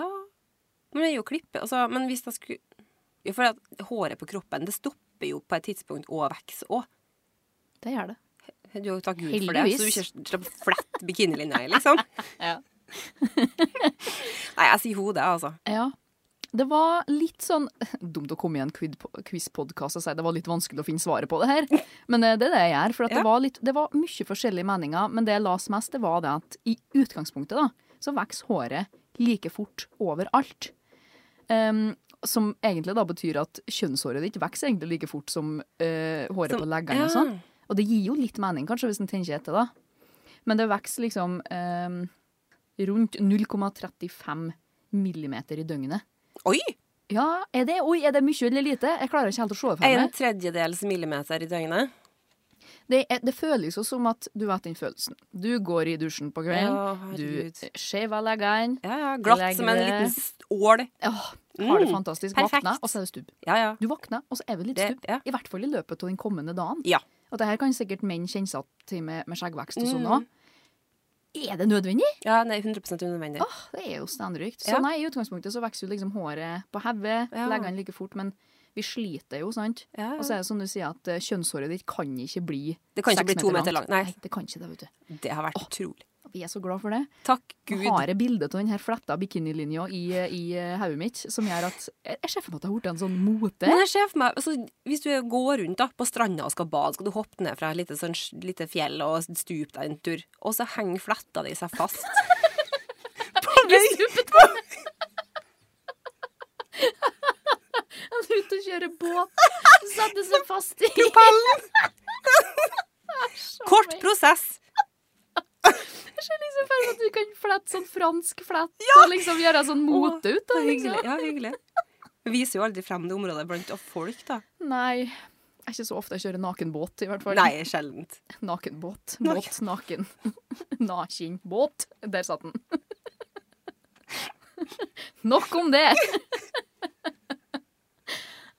Ja Men det er jo klippet altså, Men hvis jeg skulle ja, For at håret på kroppen Det stopper jo på et tidspunkt å vokse òg. Det gjør det. Du har jo takk Gud for det, Heldigvis. så du ikke slipper flett bikinilinja i, liksom. Ja. Nei, jeg sier hodet, altså. Ja. Det var litt sånn Dumt å komme i en quiz-podkast og si det var litt vanskelig å finne svaret på det her, men eh, det er det jeg gjør. For at Ja. det, var litt, det var mye forskjellige meninger, men det jeg las mest, det var det at i utgangspunktet da, så vokser håret like fort overalt. Ehm, som egentlig da betyr at kjønnshåret ditt vokser egentlig like fort som eh, håret Som- på leggene og ja. sånn. Og det gir jo litt mening, kanskje, hvis en tenker etter, da. Men det vokser liksom ehm, rundt 0,35 millimeter i døgnet. Oi! Ja, er det, oi, er det mye eller lite? Jeg klarer ikke helt å se det for En meg. tredjedels millimeter i døgnet. Det, er, det føles jo som at du vet den følelsen. Du går i dusjen på kvelden, Ja, herregud. du shaver leggene, Ja, ja. Glatt Legg som en det. liten stål. åh, har det Mm, fantastisk, perfekt. våkner, og så er det stubb. Ja, ja. Du våkner, og så er det litt Det- stubb. ja. I hvert fall i løpet av den kommende dagen. Ja. Og det her kan sikkert menn kjenne seg til med, med skjeggvekst og sånn Mm. òg. Er det nødvendig? ja nei, 100 unødvendig. Åh, det er jo standrykt. Så Ja. nei, i utgangspunktet så vokser jo liksom håret på hodet, Ja. leggene like fort, men vi sliter jo, sant? Ja, ja. Og så er det som du sier, at eh, kjønnshåret ditt kan ikke bli Det kan ikke seks bli to meter langt, nei. det kan ikke det, vet du. Det har vært utrolig. Vi er så glad for det. Takk Nå Gud. har jeg bildet av denne fletta bikinilinja i, i eh, hodet mitt, som gjør at Jeg jeg ser for meg at det har blitt en sånn mote. Men jeg ser for meg, altså, hvis du går rundt da, på stranda og skal bade, skal du hoppe ned fra et lite, sånn, lite fjell og stupe deg en tur, og så henger fletta di seg fast. på vei! Han er ute og kjører båt. Setter seg fast i Pallen! Kort prosess. Jeg ser liksom for meg at du kan flette sånn fransk flett og liksom gjøre sånn mote ut av det. hyggelig. Liksom. Ja, hyggelig. Vi viser jo aldri frem det området blant av folk, da. Nei. Det er ikke så ofte jeg kjører nakenbåt, i hvert fall. Nei, sjeldent. Nakenbåt. Naken. Båt, naken. Nakinbåt. Der satt den. Nok om det!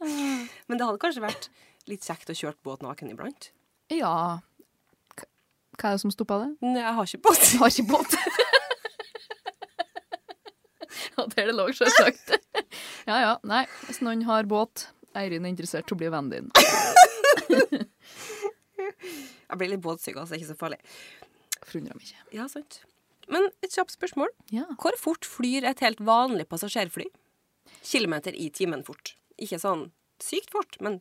Men det hadde kanskje vært litt kjekt å kjøre båt naken iblant. Ja K- Hva er det som stoppa det? Men jeg har ikke båt. Du har ikke båt. Ja, det er det lov, selvsagt. Ja ja, nei. Hvis noen har båt, Eirin er interessert i å bli vennen din. Jeg blir litt båtsyk, altså. Det er ikke så farlig. Forundrer meg ikke. Ja, sant. Men et kjapt spørsmål. Ja. Hvor fort flyr et helt vanlig passasjerfly? Kilometer i timen fort. Ikke sånn sykt fort, men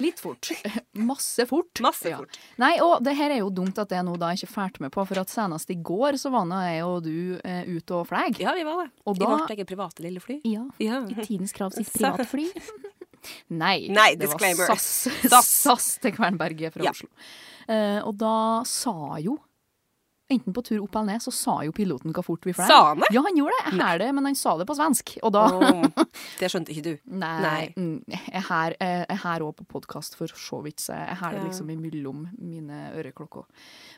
Litt fort. Masse fort. masse Ja. fort. Nei, og det her er jo dumt at jeg nå da ikke fulgte med på, for at senest i går så var nå jeg og du eh, ute og fløy. Ja, vi var det. Og I da- vårt eget private lille fly. Ja. Ja. I tidens krav sitt privatfly. Nei, Nei, det disclaimer. var SAS, SAS. SAS til Kvernberget fra Ja. Oslo. Eh, og da sa jo enten på tur opp eller ned, så sa jo piloten hvor fort vi fløy. Sa han det? Ja, han gjorde det. Jeg er det, men han sa det på svensk. Og da Åh, det skjønte ikke du. Nei. Nei. mm, Jeg her- jeg er her òg på podkast, for så vidt. Så jeg har det Ja. liksom imellom mine øreklokker.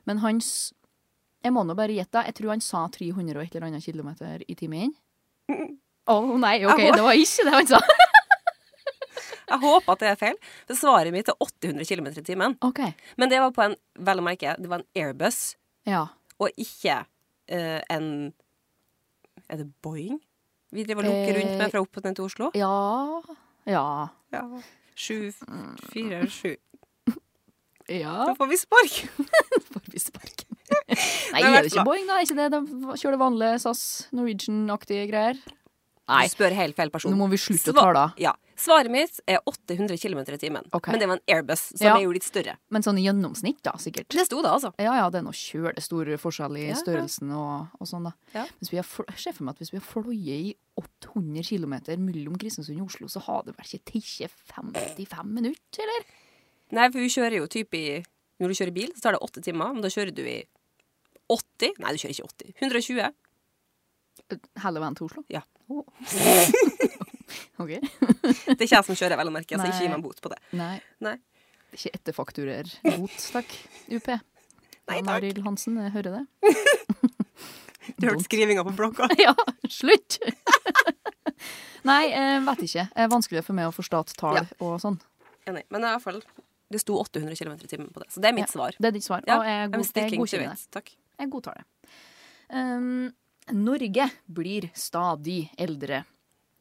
Men hans Jeg må nå bare gjette. Jeg tror han sa 300 og et eller annet kilometer i timen. Å nei, OK, Jeg må- det var ikke det han sa. Jeg håper at det er feil. Det svaret mitt er 800 km i timen. OK. Men det var på en vel å merke, det var en airbus, Ja. og ikke eh, en Er det Boeing? Vi driver og lukker Eh, rundt med fra opp og ned til Oslo. Ja. Ja. Ja. Sju, fire, sju Da Ja, får vi spark! får vi spark. Nei, Det har er det vært ikke bra. Boeing, da? Er ikke det de kjører vanlige SAS, Norwegian-aktige greier? Nei. Du spør helt feil person. Nå må vi slutte å Sva- tale. Ja. Svaret mitt er 800 km i timen. Ok. Men det var en airbus, som Ja. er jo litt større. Men sånn i gjennomsnitt, da, sikkert. Det sto det, altså. Ja ja, det er noe kjølestor forskjell i Ja, ja. størrelsen og, og sånn, da. Ja. Hvis vi har fl- jeg ser for meg at hvis vi har fløyet i 800 km mellom Kristiansund og Oslo, så har det vel ikke tatt 55 minutter, eller? Nei, for vi kjører jo typ i Når du kjører bil, så tar det åtte timer, men da kjører du i 80 Nei, du kjører ikke 80. 120. Hele veien til Oslo? Ja. Å. OK. Det er ikke jeg som kjører, vel å merke, så Nei. ikke gi meg en bot på det. Nei. Nei. Ikke etterfakturer. Bot, takk. UP. Nei, Jan takk. Arild Hansen, jeg hører det. Du hørte skrivinga på blokka. Ja, slutt! Nei, eh, vet ikke. Eh, Vanskeligere for meg å forstå tall Ja. og sånn. Enig. Men i hvert fall, det sto 800 km i timen på det. Så det er mitt svar. Det er ditt svar. Ja, og jeg, I'm god, jeg sticking to godkjenner det. it. Takk. Jeg godtar det. Um, Norge blir stadig eldre,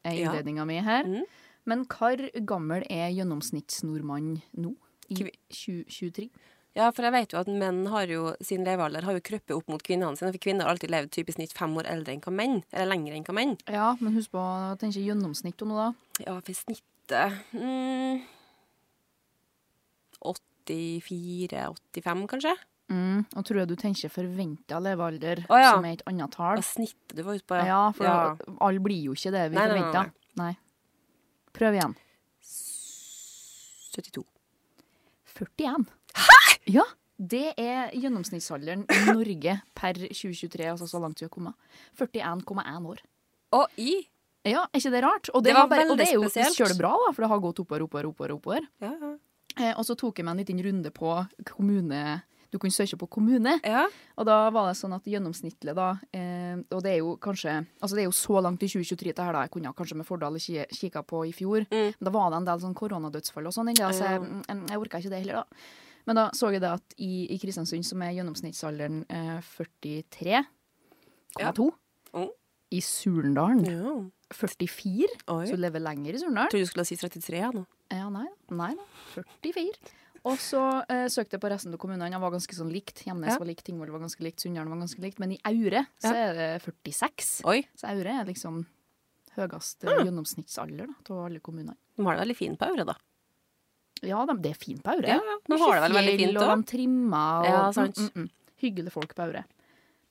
er Ja. innledninga mi her. Mm. Men hvor gammel er gjennomsnittsnordmann nå? I Kvi- 2023? Ja, for jeg vet jo at menn har jo sin levealder har jo krøpet opp mot kvinnene sine. For kvinner har alltid levd typ i snitt fem år eldre enn hva menn. Eller lenger enn hva menn. Ja, men husk på å tenke gjennomsnitt nå, da. Ja, for snittet mm, 84-85, kanskje? Mm, og tror jeg du tenker forventa levealder, Å, ja. som er et annet tall. Ja, snittet du var ute på. Ja, for alle blir jo ikke det vi Nei, nei, nei, forventa. Nei. Prøv igjen. 72. 41. Hæ?! Ja, det er gjennomsnittsalderen i Norge per 2023, altså så langt vi har kommet. 41,1 år. Og i Ja, er ikke det rart? Og det, Det var var bare, og veldig det er jo spesielt. kjølig bra, da, for det har gått oppover, oppover, oppover. oppover. Ja, ja. Eh, og så tok jeg meg en liten runde på kommune... Du kunne søke på kommune. ja. Og da var det sånn at gjennomsnittlig, da eh, Og det er jo kanskje Altså det er jo så langt i 2023 det her, da. Jeg kunne kanskje med fordel ki- kikka på i fjor. Mm. Men da var det en del sånn koronadødsfall og sånn. inni det, Så jeg, jeg, jeg orka ikke det heller, da. Men da så jeg det at i, i Kristiansund, som er gjennomsnittsalderen eh, 43,2 Mm. I Surendalen ja. 44, Oi. så du lever lenger i Surendalen. trodde du skulle si 33 jeg, nå. Ja, nei, da. nei da. 44. Og så eh, søkte jeg på resten av kommunene. Det var ganske sånn likt. Hjemnes Ja. var likt, Tingvoll var ganske likt, Sunndalen var ganske likt. Men i Aure så er det 46. Oi, Så Aure er liksom høyest Mm. eh, gjennomsnittsalder da, av alle kommunene. de har det veldig fint på Aure, da. Ja, de, det er fint på Aure. Ja, ja. De har det vel veldig Fjell, fint Og òg. de trimmer og Ja, sant. Mm, mm, mm. Hyggelige folk på Aure.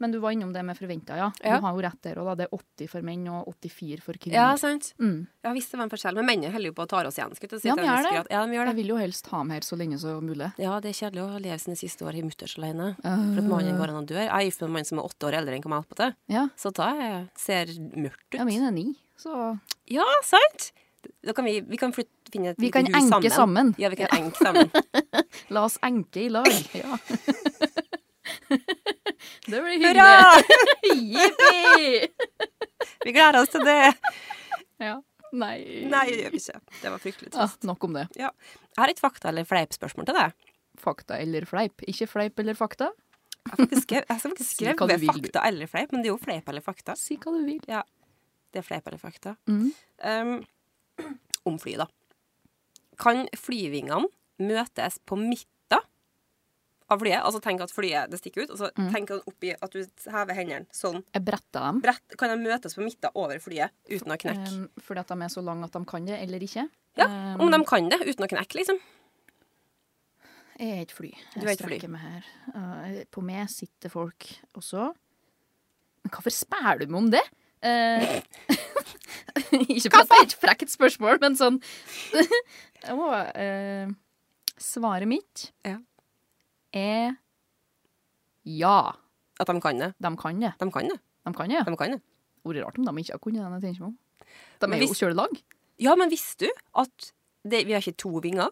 Men du var innom det med forventa, ja. Ja. Du har jo rett der òg, da. Det er 80 for menn og 84 for Ja, kvinner. sant. Mm. Ja visst, det var en forskjell. Men mennene holder jo på å ta oss igjen. skulle jeg til å si, Ja, til de en gjør viss det. grad. Ja, de gjør Jeg det. vil jo helst ha med her så lenge som mulig. Eh, Ja, det er kjedelig å leve sine siste år i mutters alene. For at mannen går an og dør. Jeg er gift med en mann som er åtte år eldre enn hva jeg holdt på til. Ja. Så da eh, ser mørkt ut. ja, min er ni, så Ja, sant? Da kan vi, vi kan flytte, finne et Vi lite kan hus enke sammen. Ja, vi kan enke sammen. La oss enke i lag. Ja. Det blir hyggelig. Hurra! Jippi! Vi gleder oss til det. Ja. Nei. Nei, det gjør vi ikke. Det var fryktelig Ah, trist. nok om det. Ja. Jeg har et fakta- eller fleipspørsmål til deg. Fakta eller fleip? Ikke fleip eller fakta? Jeg har faktisk skrevet- jeg har faktisk Si hva du skrevet vil, du. fakta eller fleip, men det er jo fleip eller fakta. Si hva du vil. Det er fleip eller fakta. Mhm. Um, om fly, da. Kan flyvingene møtes på midten av flyet? Altså tenk at flyet det stikker ut, og så Mm. tenk at oppi at du hever hendene sånn. Jeg bretter dem. Brett, kan de møtes på midten over flyet uten å knekke? Um, fordi at de er så lange at de kan det, eller ikke. Ja, Mm. Um, om de kan det uten å knekke, liksom. Jeg er et fly. Jeg Du er et fly. strekker meg her. Uh, på meg sitter folk også. Men hvorfor spør du meg om det? Eh, ikke for at det er et frekt spørsmål, men sånn Jeg må, eh, Svaret mitt Ja. er ja. At de kan det. De kan det. De kan det. De kan det, ja. De kan det. Ordet rart om de ikke har kunnet det. jeg tenker meg om. De Men er jo hvis- kjørt i lag. Ja, men visste du at det, vi har ikke to vinger?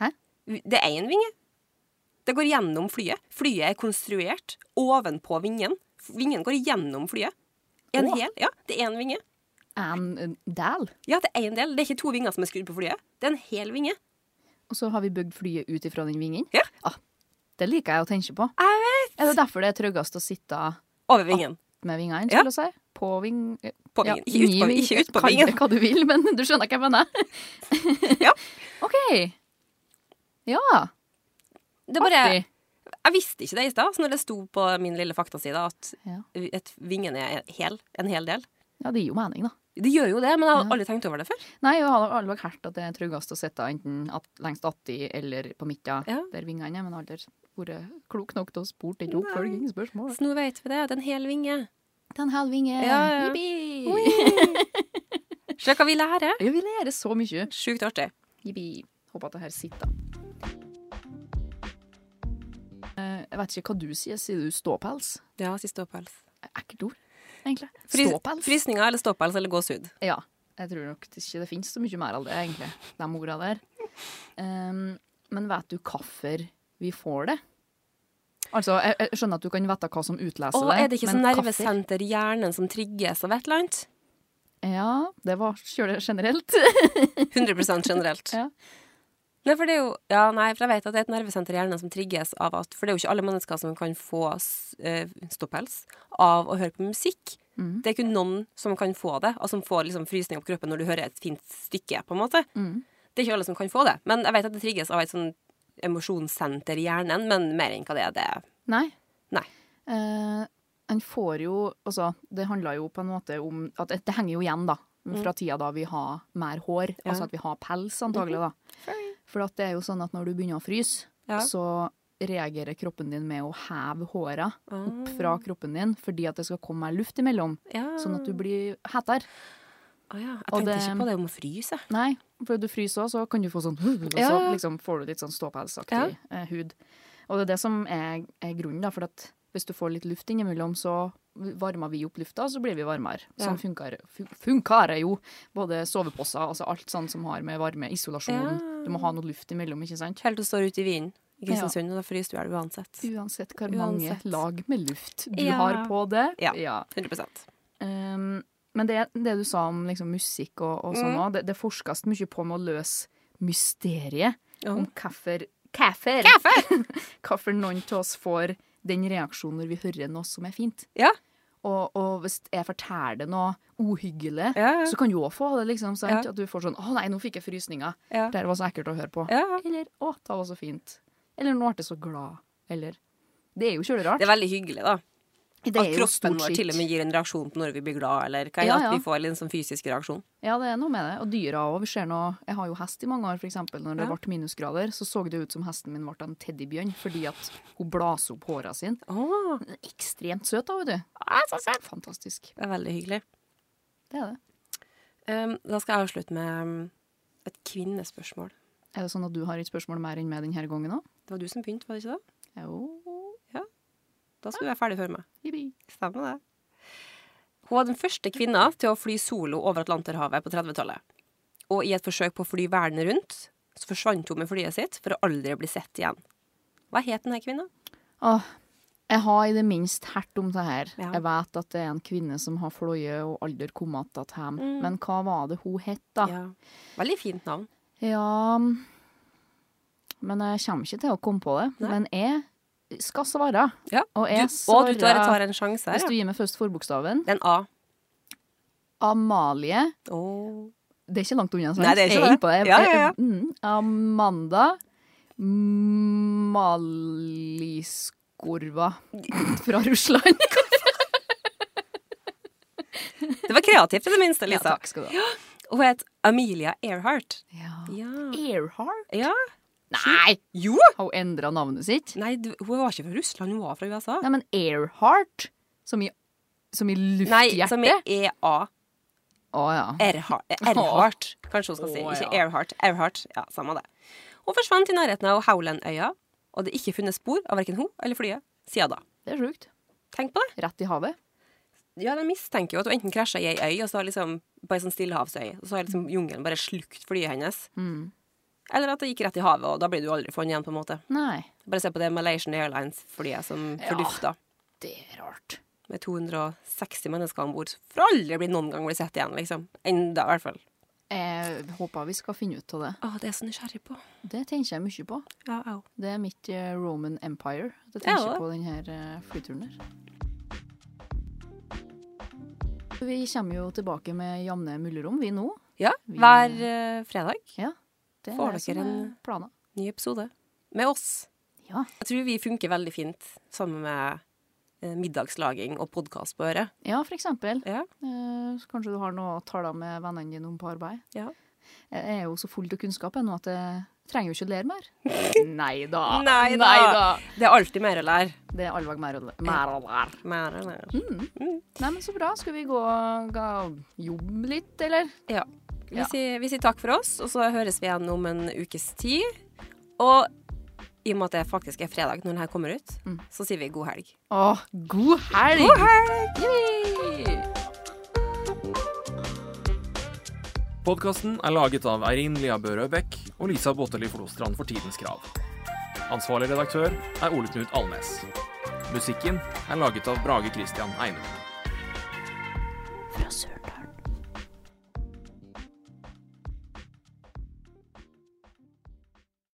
Hæ? Det er én vinge. Det går gjennom flyet. Flyet er konstruert ovenpå vingen. Vingen går gjennom flyet. En Åh. hel, ja, Det er én vinge. En dal. Ja, det er en del. Det er ikke to vinger som er skrudd på flyet. Det er en hel vinge. Og så har vi bygd flyet ut ifra den vingen. Ja. Ah, det liker jeg å tenke på. Jeg Er det derfor det er tryggest å sitte Over vingen. med vingene, Ja. skulle jeg si? På ving... På Ah. ja, vingen. Ikke ut på i ving- vingen. Ikke ut på Kall det vingen. Hva du vil, men du skjønner hva jeg mener. Ja. OK. Ja. Det er bare, artig. jeg visste ikke det i stad, så når det sto på min lille faktaside at Ja. et vingen er en hel, en hel del. ja, det gir jo mening, da. Det gjør jo det, men jeg har Ja. aldri tenkt over det før. Nei, jeg har aldri hørt at det er tryggest å sitte enten at, lengst atti eller på midten Ja. der vingene er, men aldri vært klok nok til å spurt et oppfølgingsspørsmål. Så nå vet vi det. Det er en hel vinge. Det er en halv vinge. Ja, ja. Jippi! Se hva vi lærer. Ja, vi lærer så mye. Sjukt artig. Jippi. Håper at det her sitter. Eh, Jeg vet ikke hva du sier. Sier du ståpels? Ja, si ståpels. Ekkelt ord, egentlig. Frys Ståpels? Frysninger eller ståpels eller gåsehud. Ja. Jeg tror nok det ikke det finnes så mye mer av det, egentlig. De orda der. Ehm, men vet du hvorfor vi får det? Altså, jeg, jeg skjønner at du kan vite hva som utleser Og det, er det ikke sånn Altså, men hvorfor? nervesenter i hjernen som trigges av et eller annet? Ja, det var kjølig generelt. 100 generelt. Ja. Nei, for det er jo, ja, nei, for jeg vet at det er et nervesenter i hjernen som trigges av at For det er jo ikke alle mennesker som kan få s- eh, ståpels av å høre på musikk. Mm. Det er kun noen som kan få det, og som får liksom frysning opp kroppen når du hører et fint stykke. på en måte. Mm. Det er ikke alle som kan få det. Men jeg vet at det trigges av et sånn emosjonssenter i hjernen, men mer enn hva det er, det er Nei. Nei. Eh, en får jo Altså, det handler jo på en måte om at Det, det henger jo igjen, da. Fra tida da vi har mer hår. Mm. Ja. Mhm. Altså at vi har pels, antagelig, da. For at det er jo sånn at når du begynner å fryse, Ja. så reagerer kroppen din med å heve håra Ah. opp fra kroppen din fordi at det skal komme mer luft imellom, Ja. sånn at du blir hetere. Å ja. Jeg Og tenkte det- ikke på det om å fryse. jeg. Nei, for du fryser også, så kan du få sånn Og så Ja. liksom får du litt sånn ståpelsaktig eh, hud. Og det er det som er, er grunnen, da, for at hvis du får litt luft innimellom, så varmer vi opp lufta, så blir vi varmere. Ja. Sånn funker, fun- funker det jo. Både soveposer, altså alt sånn som har med varme, isolasjon Ja. Du må ha noe luft imellom, ikke sant? Helt til du står ute i vinden i Kristiansund, og da fryser du i hjel uansett. Uansett hvor mange Uansett. lag med luft du Ja. har på det. Ja. ja. 100 Um, men det, det du sa om liksom, musikk og, og sånn Mm. òg, det, det forskes mye på med å løse mysteriet Ja. om hvorfor Hvorfor Hvorfor noen av oss får den reaksjonen når vi hører noe som er fint. Ja. Og, og hvis jeg forteller noe uhyggelig, Ja, ja. så kan du òg få det. liksom, sant? Ja. At du får sånn 'Å nei, nå fikk jeg frysninger'. Ja. Det her var så ekkelt å høre på. Ja. Eller 'Å, det var så fint'. Eller 'Nå ble jeg så glad'. Eller Det er jo kjølig rart. Det er veldig hyggelig, da. Det At er jo kroppen stort vår sett- til og med gir en reaksjon på når vi blir glad, eller hva er det Ja, at ja. vi får en sånn fysisk reaksjon. Ja, det er noe med det. Og dyra òg. Jeg har jo hest i mange år, f.eks. Når det Ja. ble minusgrader, så så det ut som hesten min ble en teddybjørn fordi at hun blaser opp håra sine. Ah. Åh, Ekstremt søt, da, vet du. Fantastisk. det er veldig hyggelig. Det er det. Um, da skal jeg avslutte med um, et kvinnespørsmål. Er det sånn at du har et spørsmål mer enn meg denne gangen òg? Det var du som begynte, var det ikke det? Jo. Da skulle du være ferdig før meg. Jippi. Stemmer det. Hun var den første kvinna til å fly solo over Atlanterhavet på 30-tallet. Og i et forsøk på å fly verden rundt, så forsvant hun med flyet sitt for å aldri bli sett igjen. Hva het denne kvinna? Åh, jeg har i det minst hørt om det her. Ja. Jeg vet at det er en kvinne som har fløyet og aldri kommet tilbake hjem. Mm. Men hva var det hun het, da? Ja. Veldig fint navn. Ja Men jeg kommer ikke til å komme på det. Nei. Men jeg skal svare. Ja. Og Du, jeg og du bare svarer tar en sjanse her. Hvis du Ja. gir meg først forbokstaven. Det er en A. Amalie. Åh. Det er ikke langt unna. sant? Nei, det er ikke jeg det. innpå det. Ja, ja, ja. Mm, Amanda Maliskorva fra Russland. Det var kreativt i det minste, Ja, Lisa. takk skal du ha. Hun het Amelia Earhart. Ja. Ja. Earhart? ja. Nei! Jo! Har hun endra navnet sitt? Nei, du, hun var ikke fra Russland, hun var fra USA. Nei, men Earhart? Som i, som i Nei, lufthjerte? som er EA. Å ja. Erha- Earhart, kanskje hun skal si. Å, Ikke ja. Earhart. Earhart, ja, samme det. Hun forsvant i nærheten av Howlandøya, og det er ikke funnet spor av verken hun eller flyet siden da. Det er sjukt. Tenk på det. Rett i havet. Ja, de mistenker jo at hun enten krasja i ei øy, og så har liksom, på ei sånn stillehavsøy, og så har liksom jungelen bare slukt flyet hennes. Eller at det gikk rett i havet, og da blir du aldri funnet igjen, på en måte. Nei. Bare se på det Malaysian Airlines-flyet som Ja. fordufta. Det er rart. med 260 mennesker om bord, for aldri blir noen gang blir sett igjen, liksom. Enda, i hvert fall. Jeg håper vi skal finne ut av det. Å, det er jeg så nysgjerrig på. Det tenker jeg mye på. Ja, au. Det er mitt eh, Roman Empire. Det Ja, tenker jeg det. på denne flyturen der. Vi kommer jo tilbake med jevne mullerom, vi nå. Ja, Vi- hver eh, fredag. Det Får er det dere som en- er planen. Ny episode. Med oss. Ja. Jeg tror vi funker veldig fint sammen med eh, middagslaging og podkast på øret. Ja, for eksempel. Ja. Eh, så kanskje du har noe å tale med vennene dine om på arbeid. Ja. Jeg er jo så full av kunnskap ennå at jeg trenger jo ikke å lære mer. Nei da. Nei da. Det er alltid mer å lære. Det er allveg mer å lære. Mer å lære. Mer å lære. Nei, men så bra. Skal vi gå og jobbe litt, eller? Ja. Vi Ja. sier, vi sier takk for oss, og så høres vi igjen om en ukes tid. Og i og med at det faktisk er fredag når den her kommer ut, så sier vi god helg. Åh, god helg! Mm. God helg! Podkasten er laget av Eirin Lia Børø Bech og Lisa Botteli Flostrand for Tidens Krav. Ansvarlig redaktør er Ole Knut Alnes. Musikken er laget av Brage Christian Eine. Fra Sørland.